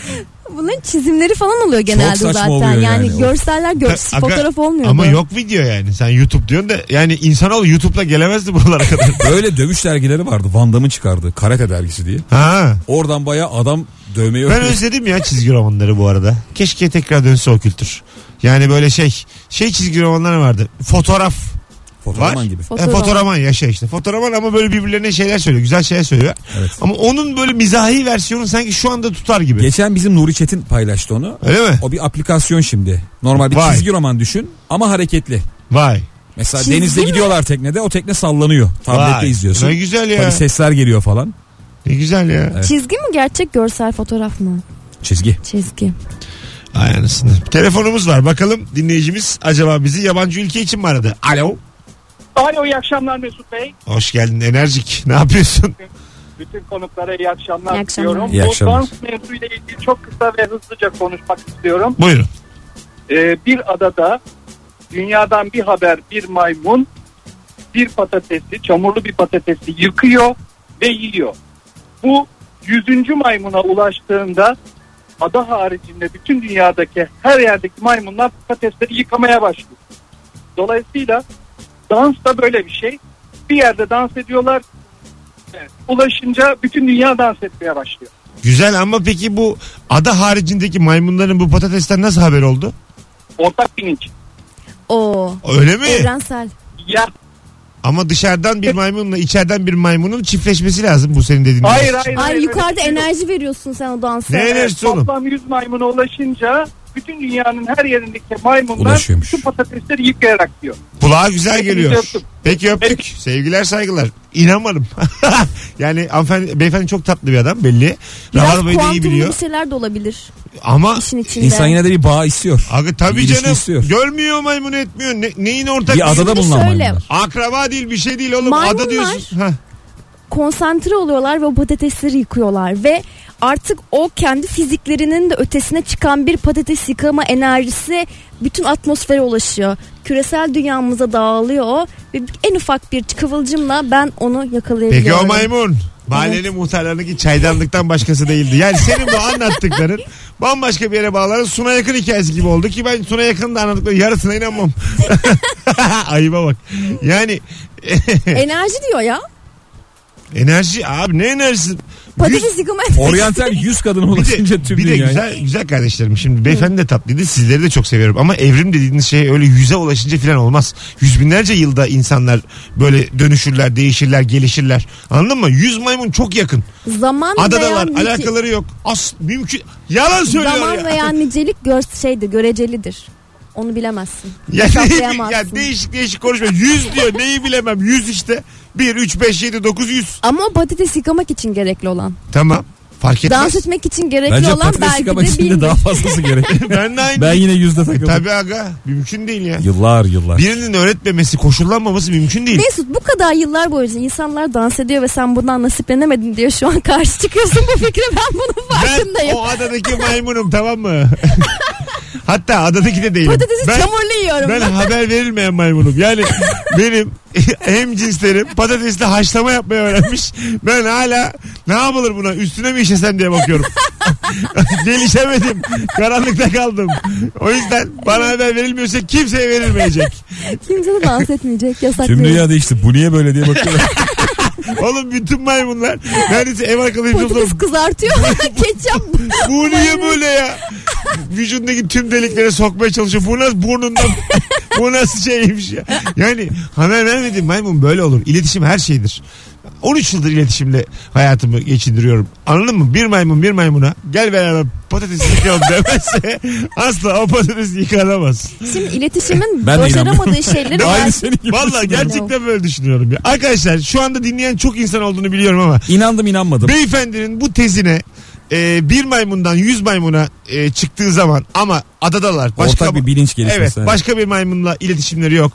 C: Bunların çizimleri falan oluyor genelde
D: saçma
C: zaten.
D: oluyor
C: yani,
D: yani.
C: görseller gör
B: Aga,
C: fotoğraf olmuyor.
B: Ama
C: bu.
B: yok video yani. Sen YouTube diyorsun da yani insanoğlu YouTube'la gelemezdi buralara kadar.
D: Böyle dövüş dergileri vardı. Van Damme'ın çıkardığı karate dergisi diye.
B: ha.
D: Oradan bayağı adam dövmeyi
B: Ben
D: öğreniyor.
B: özledim ya çizgi romanları bu arada. Keşke tekrar dönse o kültür. Yani böyle şey şey çizgi romanları vardı. Fotoğraf.
D: Fotoğraman
B: Var.
D: gibi.
C: Fotoğraf.
B: E, fotoğraman yaşa işte. Fotoğraman ama böyle birbirlerine şeyler söylüyor. Güzel şeyler söylüyor.
D: Evet.
B: Ama onun böyle mizahi versiyonu sanki şu anda tutar gibi.
D: Geçen bizim Nuri Çetin paylaştı onu.
B: Öyle mi?
D: O bir aplikasyon şimdi. Normal bir
B: Vay.
D: çizgi roman düşün ama hareketli.
B: Vay.
D: Mesela
C: Çizgi
D: denizde
C: mi?
D: gidiyorlar teknede o tekne sallanıyor. Tablette
B: Vay.
D: izliyorsun.
B: Ne güzel ya.
D: Tabii sesler geliyor falan.
B: Ne güzel ya.
D: Evet.
C: Çizgi mi gerçek görsel fotoğraf mı?
D: Çizgi.
C: Çizgi.
B: Ay anasını. Telefonumuz var. Bakalım dinleyicimiz acaba bizi yabancı ülke için mi aradı? Alo.
E: Alo iyi akşamlar Mesut Bey.
B: Hoş geldin enerjik. Ne yapıyorsun?
E: Bütün konuklara iyi akşamlar,
C: İyi akşamlar.
E: diliyorum.
D: İyi
E: Bu
D: akşamlar.
E: dans mevzuyla ilgili çok kısa ve hızlıca konuşmak istiyorum.
B: Buyurun.
E: Ee, bir adada dünyadan bir haber bir maymun bir patatesi, çamurlu bir patatesi yıkıyor ve yiyor. Bu yüzüncü maymuna ulaştığında ada haricinde bütün dünyadaki her yerdeki maymunlar patatesleri yıkamaya başlıyor. Dolayısıyla dans da böyle bir şey. Bir yerde dans ediyorlar. Evet, Ulaşınca bütün dünya dans etmeye başlıyor.
B: Güzel ama peki bu ada haricindeki maymunların bu patatesten nasıl haber oldu?
E: Ortak bilinç.
C: O
B: Öyle mi?
C: evrensel.
E: Ya
B: Ama dışarıdan bir maymunla içeriden bir maymunun çiftleşmesi lazım bu senin dediğin.
E: hayır hayır.
C: Ay
E: hayır,
C: yukarıda
E: öyle bir şey yok.
C: enerji veriyorsun sen o dansa.
B: Ne enerjisi oğlum?
E: Toplam 100 maymuna ulaşınca bütün dünyanın her yerindeki maymunlar
D: Ulaşıyormuş.
E: şu patatesleri yıkayarak yiyor.
B: Kulağa güzel geliyor.
E: Hepinizi öptüm.
B: Peki öptük. Sevgiler saygılar. İnanmadım. yani hanımefendi, beyefendi çok tatlı bir adam belli.
C: Biraz
B: Rabarbayı da iyi
C: kuantumlu
B: biliyor.
C: bir şeyler de olabilir
B: Ama
C: işin içinde.
D: İnsan yine de bir bağ istiyor.
B: Abi tabii
D: İlişki
B: canım.
D: istiyor.
B: Görmüyor maymunu etmiyor. Ne- neyin ortak?
D: Bir adada
C: Şimdi
D: bulunan
C: söyle.
D: maymunlar.
B: Akraba değil bir şey değil oğlum.
C: Maymunlar-
B: Ada diyorsun. Hah.
C: konsantre oluyorlar ve o patatesleri yıkıyorlar ve artık o kendi fiziklerinin de ötesine çıkan bir patates yıkama enerjisi bütün atmosfere ulaşıyor. Küresel dünyamıza dağılıyor o ve en ufak bir kıvılcımla ben onu yakalayabiliyorum.
B: Peki o maymun. Mahallenin muhtarlarındaki çaydanlıktan başkası değildi. Yani senin bu anlattıkların bambaşka bir yere bağlanan Suna Yakın hikayesi gibi oldu ki ben Suna Yakın'ın da anlattıkları yarısına inanmam. Ayıba bak. Yani
C: Enerji diyor ya.
B: enerji abi ne enerjisi? Yüz-
C: Patates yıkama
D: Oryantal 100 kadına
B: Bir de,
D: ulaşınca tüm
B: bir de
D: dünyayı.
B: güzel, güzel kardeşlerim. Şimdi beyefendi de tatlıydı. Sizleri de çok seviyorum. Ama evrim dediğiniz şey öyle yüze ulaşınca falan olmaz. Yüz binlerce yılda insanlar böyle dönüşürler, değişirler, gelişirler. Anladın mı? Yüz maymun çok yakın.
C: zaman veya
B: Adadalar
C: nice-
B: alakaları yok. As mümkün. Yalan söylüyor
C: zaman
B: ya.
C: veya nicelik gör şeydir, görecelidir. Onu bilemezsin.
B: Ya,
C: hesaplayamazsın.
B: ya değişik değişik konuşma. Yüz diyor. Neyi bilemem. Yüz işte. Bir, üç, beş, yedi, dokuz, yüz.
C: Ama o patates yıkamak için gerekli olan.
B: Tamam. Fark etmez.
C: Dans etmek için gerekli
D: Bence
C: olan
D: patates
C: belki de
D: kabaçesinde
C: bilmiyorum.
D: daha fazlası gerek.
B: Ben de aynı.
D: ben yine yüzde takıldım.
B: Tabii aga. Mümkün değil ya.
D: Yıllar yıllar.
B: Birinin öğretmemesi, koşullanmaması mümkün değil.
C: Mesut bu kadar yıllar boyunca insanlar dans ediyor ve sen bundan nasiplenemedin diyor şu an karşı çıkıyorsun bu fikre ben bunun
B: Ben
C: farkındayım.
B: o adadaki maymunum tamam mı? Hatta adadaki de değilim.
C: Patatesi
B: ben,
C: çamurlu yiyorum.
B: ben haber verilmeyen maymunum. Yani benim hem cinslerim patatesle haşlama yapmayı öğrenmiş. Ben hala ne yapılır buna üstüne mi işesem diye bakıyorum. Gelişemedim. Karanlıkta kaldım. O yüzden bana haber verilmiyorsa kimseye verilmeyecek.
C: Kimse de dans etmeyecek yasak
D: Tüm
C: değil.
D: dünya değişti. Bu niye böyle diye bakıyorum.
B: Oğlum bütün maymunlar neredeyse ev arkadaşımız
C: Patates kızartıyor. Ketçap.
B: Bu niye böyle ya? Vücudundaki tüm deliklere sokmaya çalışıyor. Bu nasıl burnundan bu nasıl şeymiş ya? Yani haber vermedim maymun böyle olur. İletişim her şeydir. 13 yıldır iletişimle hayatımı geçindiriyorum. Anladın mı? Bir maymun bir maymuna gel beraber patatesi yıkayalım demezse asla o patates yıkanamaz.
C: Şimdi iletişimin
D: Ben de
C: başaramadığı şeyleri
D: Aynı
C: var.
D: senin gibi.
B: Vallahi gerçekten böyle düşünüyorum ya. Arkadaşlar şu anda dinleyen çok insan olduğunu biliyorum ama
D: İnandım inanmadım.
B: Beyefendinin bu tezine e, bir maymundan yüz maymuna e, çıktığı zaman ama adadalar.
D: Ortak bir bilinç gelişmesi.
B: Evet
D: Evet.
B: başka bir maymunla iletişimleri yok.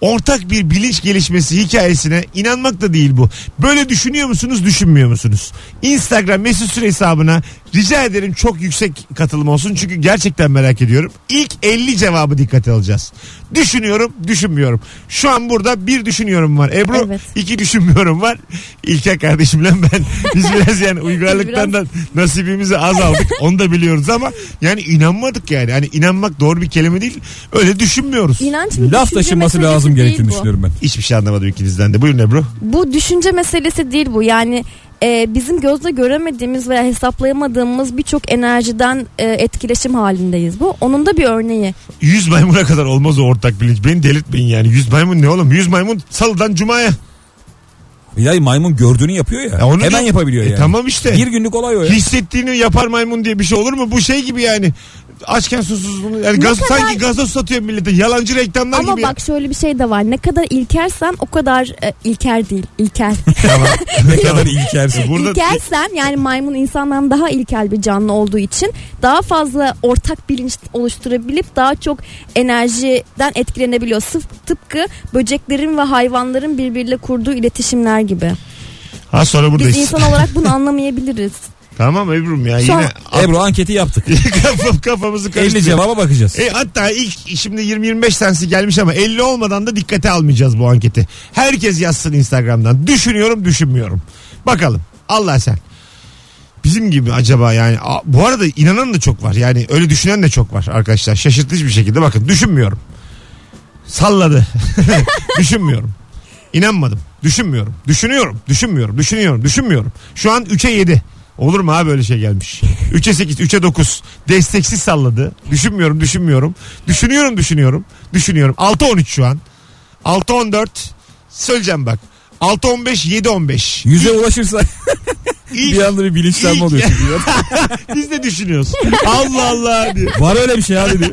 B: Ortak bir bilinç gelişmesi hikayesine inanmak da değil bu. Böyle düşünüyor musunuz düşünmüyor musunuz? Instagram mesut süre hesabına rica ederim çok yüksek katılım olsun. Çünkü gerçekten merak ediyorum. İlk 50 cevabı dikkate alacağız. Düşünüyorum düşünmüyorum. Şu an burada bir düşünüyorum var. Ebru
C: Evet.
B: iki düşünmüyorum var. İlker kardeşimle ben biz biraz yani uygarlıktan da nasibimizi az aldık. Onu da biliyoruz ama yani inanmadık yani. Hani inanmak doğru bir kelime değil. Öyle düşünmüyoruz.
C: İnanç bir
D: Laf
C: düşünce
D: taşıması
C: meselesi
D: lazım
C: değil
D: gerektiğini
C: bu.
D: düşünüyorum ben.
B: Hiçbir şey anlamadım ikinizden de. Buyurun Ebru.
C: Bu düşünce meselesi değil bu. Yani e, bizim gözle göremediğimiz veya hesaplayamadığımız birçok enerjiden e, etkileşim halindeyiz bu. Onun da bir örneği.
B: Yüz maymuna kadar olmaz o ortak bilinç. Beni delirtmeyin yani. Yüz maymun ne oğlum? Yüz maymun salıdan cumaya.
D: Ya maymun gördüğünü yapıyor ya.
B: Ya onu
D: hemen
B: diyor-
D: yapabiliyor
B: E
D: yani.
B: tamam işte.
D: Bir günlük olay o ya.
B: Hissettiğini yapar maymun diye bir şey olur mu? Bu şey gibi yani. Açken susuz bunu. Yani gaz,
C: kadar-
B: Sanki gazoz satıyor millete. Yalancı reklamlar
C: Ama
B: gibi. ya.
C: bak şöyle bir şey de var. Ne kadar ilkersen o kadar e, ilker değil. İlkel.
D: ne kadar ilkersin.
B: Burada
C: İlkelsen yani maymun insandan daha ilkel bir canlı olduğu için daha fazla ortak bilinç oluşturabilip daha çok enerjiden etkilenebiliyor. Sıf, tıpkı böceklerin ve hayvanların birbiriyle kurduğu iletişimler gibi.
B: Ha sonra
C: Biz
B: buradayız.
C: insan olarak bunu anlamayabiliriz.
B: Tamam Ebru'm ya.
C: Şu
B: Yine
C: an-
D: Ebru anketi yaptık.
B: Kafam, kafamızı
D: 50
B: karıştırıyor.
D: cevaba bakacağız.
B: E, hatta ilk şimdi 20-25 tanesi gelmiş ama 50 olmadan da dikkate almayacağız bu anketi. Herkes yazsın Instagram'dan. Düşünüyorum düşünmüyorum. Bakalım. Allah sen. Bizim gibi acaba yani A- bu arada inanan da çok var. Yani öyle düşünen de çok var arkadaşlar. Şaşırtıcı bir şekilde bakın düşünmüyorum. Salladı. düşünmüyorum. İnanmadım. Düşünmüyorum. Düşünüyorum. Düşünmüyorum. Düşünüyorum. Düşünmüyorum. Şu an 3'e 7. Olur mu abi böyle şey gelmiş? 3'e 8, 3'e 9. Desteksiz salladı. Düşünmüyorum, düşünmüyorum. Düşünüyorum, düşünüyorum. Düşünüyorum. 6 13 şu an. 6 14. Söyleyeceğim bak. 6 15, 7 15.
D: Yüze ulaşırsa
B: İlk,
D: bir anda bir bilinçlenme oluyor.
B: biz de düşünüyoruz. Allah Allah diye.
D: Var öyle bir şey abi diyor.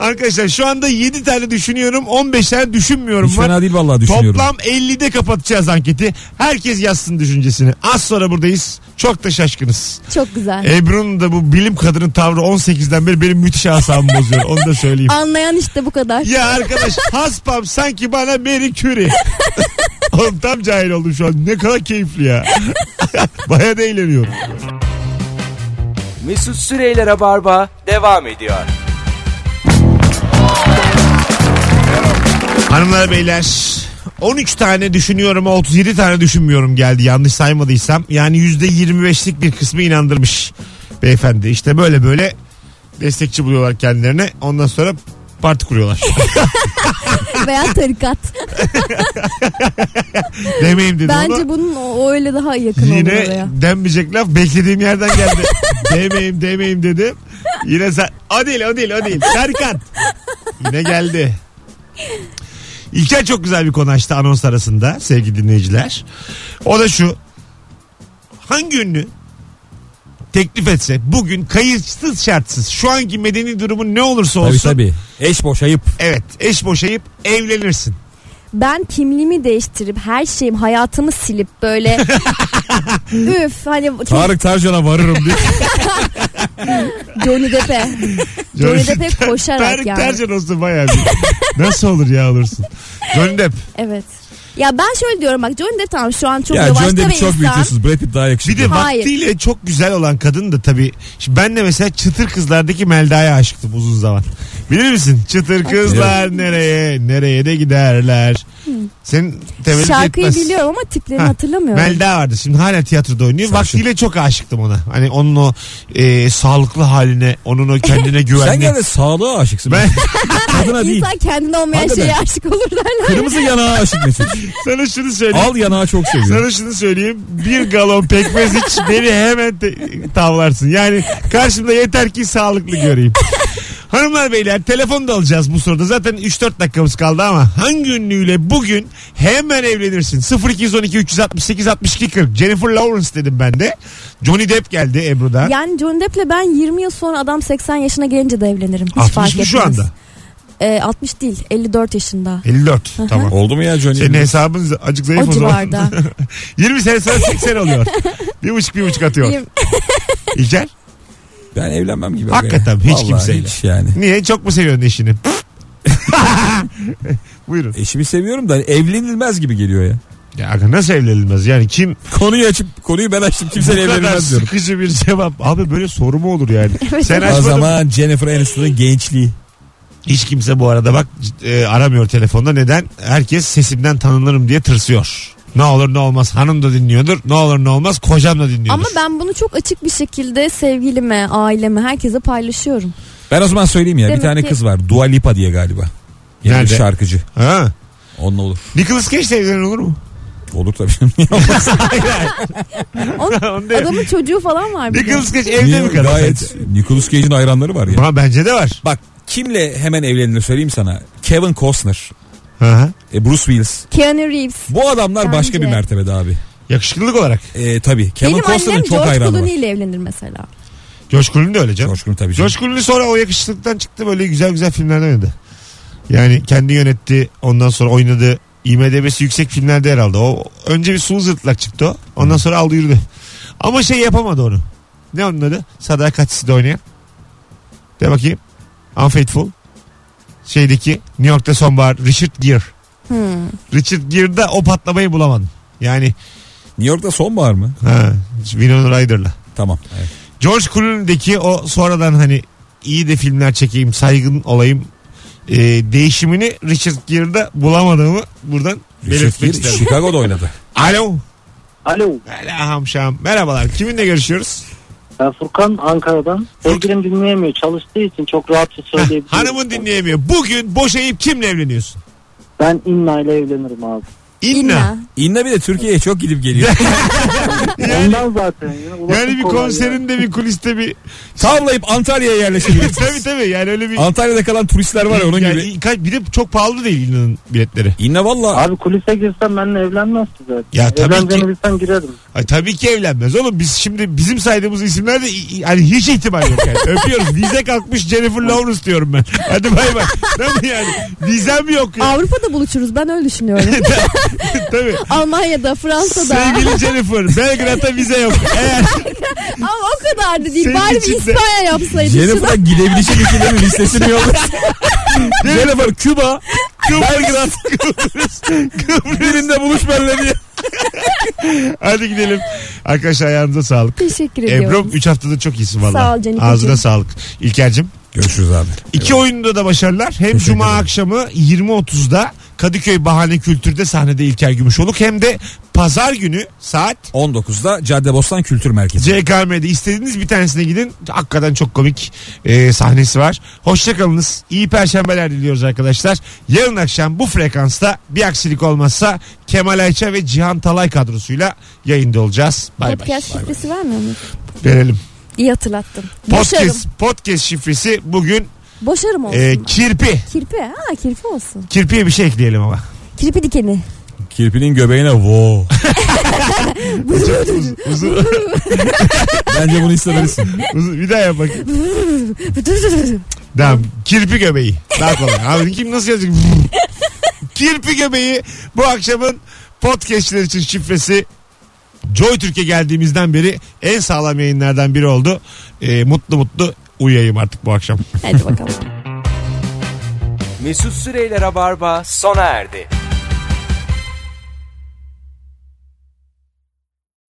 B: Arkadaşlar şu anda 7 tane düşünüyorum, 15 tane düşünmüyorum.
D: Hiç
B: var.
D: fena değil vallahi düşünüyorum.
B: Toplam 50'de kapatacağız anketi. Herkes yazsın düşüncesini. Az sonra buradayız. Çok da şaşkınız.
C: Çok güzel.
B: Ebru'nun da bu bilim kadının tavrı 18'den beri benim müthiş asabımı bozuyor. Onu da söyleyeyim.
C: Anlayan işte bu kadar.
B: Ya arkadaş haspam sanki bana Mary Curie. Oğlum tam cahil oldum şu an. Ne kadar keyifli ya. Baya da eğleniyorum.
A: Mesut Süreyler'e barba devam ediyor.
B: Hanımlar beyler 13 tane düşünüyorum 37 tane düşünmüyorum geldi yanlış saymadıysam. Yani %25'lik bir kısmı inandırmış beyefendi. İşte böyle böyle destekçi buluyorlar kendilerine. Ondan sonra parti kuruyorlar.
C: Veya tarikat.
B: Demeyeyim dedim
C: Bence
B: ama
C: bunun o, o öyle daha yakın olur
B: yine
C: oraya.
B: denmeyecek laf beklediğim yerden geldi. demeyeyim demeyeyim dedim. Yine sen o değil o değil o değil. Serkan. Yine geldi. İlker çok güzel bir konu açtı anons arasında sevgili dinleyiciler. O da şu. Hangi ünlü teklif etse bugün kayıtsız şartsız şu anki medeni durumun ne olursa
D: Tabii
B: olsun.
D: tabii. Eş boş ayıp.
B: Evet eş boşayıp evlenirsin.
C: ben kimliğimi değiştirip her şeyim hayatımı silip böyle üf hani çok
D: Tarık Tarcan'a varırım diye.
C: Johnny Depp'e Johnny Depp'e koşarak
B: Tarık
C: yani.
B: Tercan olsun bayağı bir. Nasıl olur ya olursun. Johnny Depp.
C: Evet. Ya ben şöyle diyorum bak Johnny Depp tamam şu an çok
D: ya
C: yavaşta
D: John
C: ve
D: Depp'i çok
C: insan.
D: büyütüyorsunuz. Brad Pitt daha yakışıklı.
B: Bir de
C: Hayır.
B: vaktiyle çok güzel olan kadın da tabii. Şimdi ben de mesela çıtır kızlardaki Melda'ya aşıktım uzun zaman. Bilir misin? Çıtır kızlar nereye nereye de giderler. Senin temelli
C: Şarkıyı
B: etmez.
C: biliyorum ama tiplerini
B: Ha,
C: hatırlamıyorum.
B: Melda vardı şimdi hala tiyatroda oynuyor.
D: Sarışın.
B: Vaktiyle çok aşıktım ona. Hani onun o e, sağlıklı haline, onun o kendine
D: Sen
B: güvenli.
D: gene sağlığa aşıksın.
B: Ben
D: Kadına değil.
C: İnsan kendine olmayan
D: Hakikaten.
C: şeye aşık olur derler.
D: Kırmızı yanağa aşık Mesut.
B: sana şunu söyleyeyim.
D: Al yanağı çok seviyor.
B: Sana şunu söyleyeyim. Bir galon pekmez iç beni hemen te- tavlarsın. Yani karşımda yeter ki sağlıklı göreyim. Hanımlar beyler telefon da alacağız bu soruda. Zaten 3-4 dakikamız kaldı ama hangi ünlüyle bugün hemen evlenirsin? 0212 368 62 40. Jennifer Lawrence dedim ben de. Johnny Depp geldi Ebru'da.
C: Yani Johnny Depp'le ben 20 yıl sonra adam 80 yaşına gelince de evlenirim. Hiç
B: 60
C: fark
B: mı şu
C: etmez.
B: anda?
C: Ee, 60 değil 54 yaşında.
B: 54. tamam.
D: Oldu mu ya Johnny?
B: Senin hesabın z- acık zayıf o,
C: O
B: zaman.
C: civarda.
B: 20 sene sonra 80 oluyor. bir buçuk bir buçuk atıyor.
C: Yirmi-
B: İlker?
D: Ben evlenmem gibi.
B: Hakikaten hiç
D: Vallahi
B: kimseyle.
D: hiç yani.
B: Niye? Çok mu seviyorsun eşini? Buyurun.
D: Eşimi seviyorum da hani evlenilmez gibi geliyor ya.
B: Ya aga nasıl evlenilmez? Yani kim
D: Konuyu açıp konuyu ben açtım
B: bu
D: kimseyle
B: kadar
D: evlenilmez diyorum.
B: sıkıcı bir cevap? Abi böyle soru mu olur yani?
C: Evet.
B: Sen
D: O
B: açmadın.
D: zaman Jennifer Aniston'ın gençliği.
B: Hiç kimse bu arada bak e, aramıyor telefonda. Neden? Herkes sesimden tanınırım diye tırsıyor. Ne olur ne olmaz hanım da dinliyordur. Ne olur ne olmaz kocam da dinliyordur.
C: Ama ben bunu çok açık bir şekilde sevgilime, aileme, herkese paylaşıyorum.
D: Ben o zaman söyleyeyim ya
C: Demek
D: bir tane
C: ki-
D: kız var. Dua Lipa diye galiba. Yani
B: Nerede?
D: bir şarkıcı.
B: Ha.
D: Onunla olur.
B: Nicholas Cage de evlenen olur mu?
D: Olur tabii.
C: Onun,
B: Onu diyor.
C: adamın çocuğu falan var bir de.
B: Nicholas Cage evde
D: Niye?
B: mi kalır?
D: Gayet Nicolas Cage'in hayranları var ya.
B: Ha, bence de var.
D: Bak kimle hemen evlenilir söyleyeyim sana. Kevin Costner,
B: Hı-hı.
D: e, Bruce Willis.
C: Keanu Reeves.
D: Bu adamlar
C: Bence.
D: başka bir mertebede abi.
B: Yakışıklılık olarak.
D: E, tabii. Kevin
C: Benim
D: Costner'ın
C: annem
D: çok
C: George
D: hayranı var.
C: Clooney ile evlenir mesela.
B: Josh Clooney de öyle canım.
D: Coşkun tabii. canım.
B: Josh Clooney sonra o yakışıklıktan çıktı böyle güzel güzel filmlerde oynadı. Yani kendi yönetti ondan sonra oynadı. IMDB'si yüksek filmlerde yer aldı. O, önce bir sulu zırtlak çıktı o. Ondan sonra aldı yürüdü. Ama şey yapamadı onu. Ne onun adı? Sadakatsiz'de oynayan. De bakayım. Unfaithful. Şeydeki New York'ta sonbahar Richard Gere.
C: Hmm.
B: Richard Gere'da o patlamayı bulamadım. Yani
D: New York'ta sonbahar mı?
B: ha, Winona Ryder'la.
D: Tamam. Evet.
B: George Clooney'deki o sonradan hani iyi de filmler çekeyim, saygın olayım e, değişimini Richard Gere'da bulamadığımı buradan
D: Richard
B: belirtmek
D: Gere
B: isterim.
D: Chicago'da oynadı.
B: Alo.
E: Alo
B: Hala hamşam. Merhabalar. Kiminle görüşüyoruz?
E: ben Furkan Ankara'dan. Sevgilim dinleyemiyor çalıştığı için çok rahatça söyleyebilirim.
B: Hanımın dinleyemiyor. Bugün boşayıp kimle evleniyorsun?
E: Ben İnna ile evlenirim abi.
B: İnna.
D: İnna bir de Türkiye'ye çok gidip geliyor.
E: Ondan zaten. ya, ulaşım
B: Yani bir
E: kolay
B: konserinde bir kuliste bir...
D: Tavlayıp Antalya'ya
B: tabii
D: yerleşebilirsiniz.
B: tabii yani öyle bir...
D: Antalya'da kalan turistler var ya onun
B: Yani
D: gibi.
B: kaç- bir de çok pahalı değil İnna'nın biletleri.
D: İnna
E: ya.
D: valla
E: Abi kulise girsem benimle evlenmez ki zaten.
B: Ya tabii
E: Evleneceğini
B: ki.
E: bilsem girerim.
B: Ay, tabii ki evlenmez oğlum. Biz şimdi bizim saydığımız isimler de i- i- hani hiç ihtimal yok yani. Öpüyoruz. Vize kalkmış Jennifer Lawrence diyorum ben. Hadi bay bay. Değil mi yani? Vizem yok ya.
C: Avrupa'da buluşuruz ben öyle düşünüyorum.
B: Tabii.
C: Almanya'da, Fransa'da.
B: Sevgili Jennifer, Belgrad'da vize yok. Eğer
C: Ama o kadar da değil.
B: Senin
C: Bari bir
B: içinde-
C: İspanya yapsaydın. şuna.
D: Jennifer gidebilecek ülkelerin listesini yolladı. Jennifer Küba,
B: Kıbrıs,
D: birinde buluş benimle diye.
B: Hadi gidelim. Arkadaşlar ayağınıza sağlık.
C: Teşekkür
B: Ebru
C: ediyorum.
B: 3 haftada çok iyisin valla.
C: Sağ ol Canikacığım.
B: Ağzına sağlık. İlker'cim.
D: Görüşürüz abi.
B: İki oyunda da başarılar. Hem
D: Teşekkür
B: Cuma
D: ederim.
B: akşamı 20.30'da Kadıköy Bahane Kültür'de sahnede İlker Gümüşoluk. Hem de pazar günü saat
D: 19'da Caddebostan Kültür Merkezi.
B: CKM'de istediğiniz bir tanesine gidin. Hakikaten çok komik e, sahnesi var. Hoşçakalınız. İyi perşembeler diliyoruz arkadaşlar. Yarın akşam bu frekansta bir aksilik olmazsa Kemal Ayça ve Cihan Talay kadrosuyla yayında olacağız. Bay bay.
C: Podcast şifresi vermiyor mu?
B: Verelim.
C: İyi hatırlattın. Boşarım.
B: Podcast, podcast şifresi bugün
C: Boşarım olsun.
B: e, kirpi.
C: kirpi. Ha kirpi olsun.
B: Kirpiye bir şey ekleyelim ama.
C: Kirpi dikeni.
D: Kirpinin göbeğine wow.
B: Uzun, uzun,
D: Bence bunu istemelisin.
B: uzun- bir daha yap bakayım. Tamam. Kirpi göbeği. Daha kolay. Abi kim nasıl yazacak? Kirpi göbeği bu akşamın podcastler için şifresi Joy Türkiye geldiğimizden beri en sağlam yayınlardan biri oldu. Ee, mutlu mutlu uyuyayım artık bu
C: É, então
B: akşam.
C: Hadi bakalım.
A: Mesut Süreyler'e barba sona erdi.